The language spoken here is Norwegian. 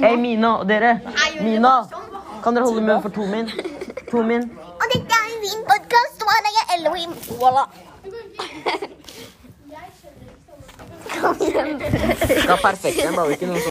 Hei, Mina og dere. Mina, kan dere holde munn for to min? To min. Og dette er en fin podkast, og han er Elohim. Voilà. Det er perfekt. Det er bare ikke noen som